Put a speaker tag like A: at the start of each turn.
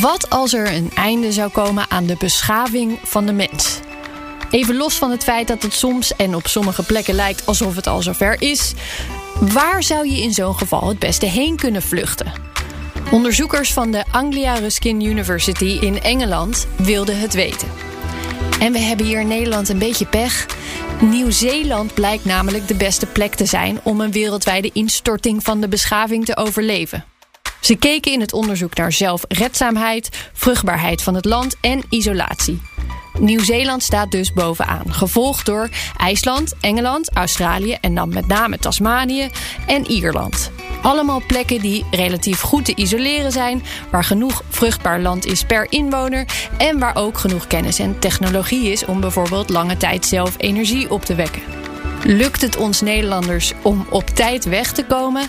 A: Wat als er een einde zou komen aan de beschaving van de mens? Even los van het feit dat het soms en op sommige plekken lijkt alsof het al zover is, waar zou je in zo'n geval het beste heen kunnen vluchten? Onderzoekers van de Anglia Ruskin University in Engeland wilden het weten. En we hebben hier in Nederland een beetje pech. Nieuw-Zeeland blijkt namelijk de beste plek te zijn om een wereldwijde instorting van de beschaving te overleven. Ze keken in het onderzoek naar zelfredzaamheid, vruchtbaarheid van het land en isolatie. Nieuw-Zeeland staat dus bovenaan, gevolgd door IJsland, Engeland, Australië en dan met name Tasmanië en Ierland. Allemaal plekken die relatief goed te isoleren zijn, waar genoeg vruchtbaar land is per inwoner en waar ook genoeg kennis en technologie is om bijvoorbeeld lange tijd zelf energie op te wekken. Lukt het ons Nederlanders om op tijd weg te komen,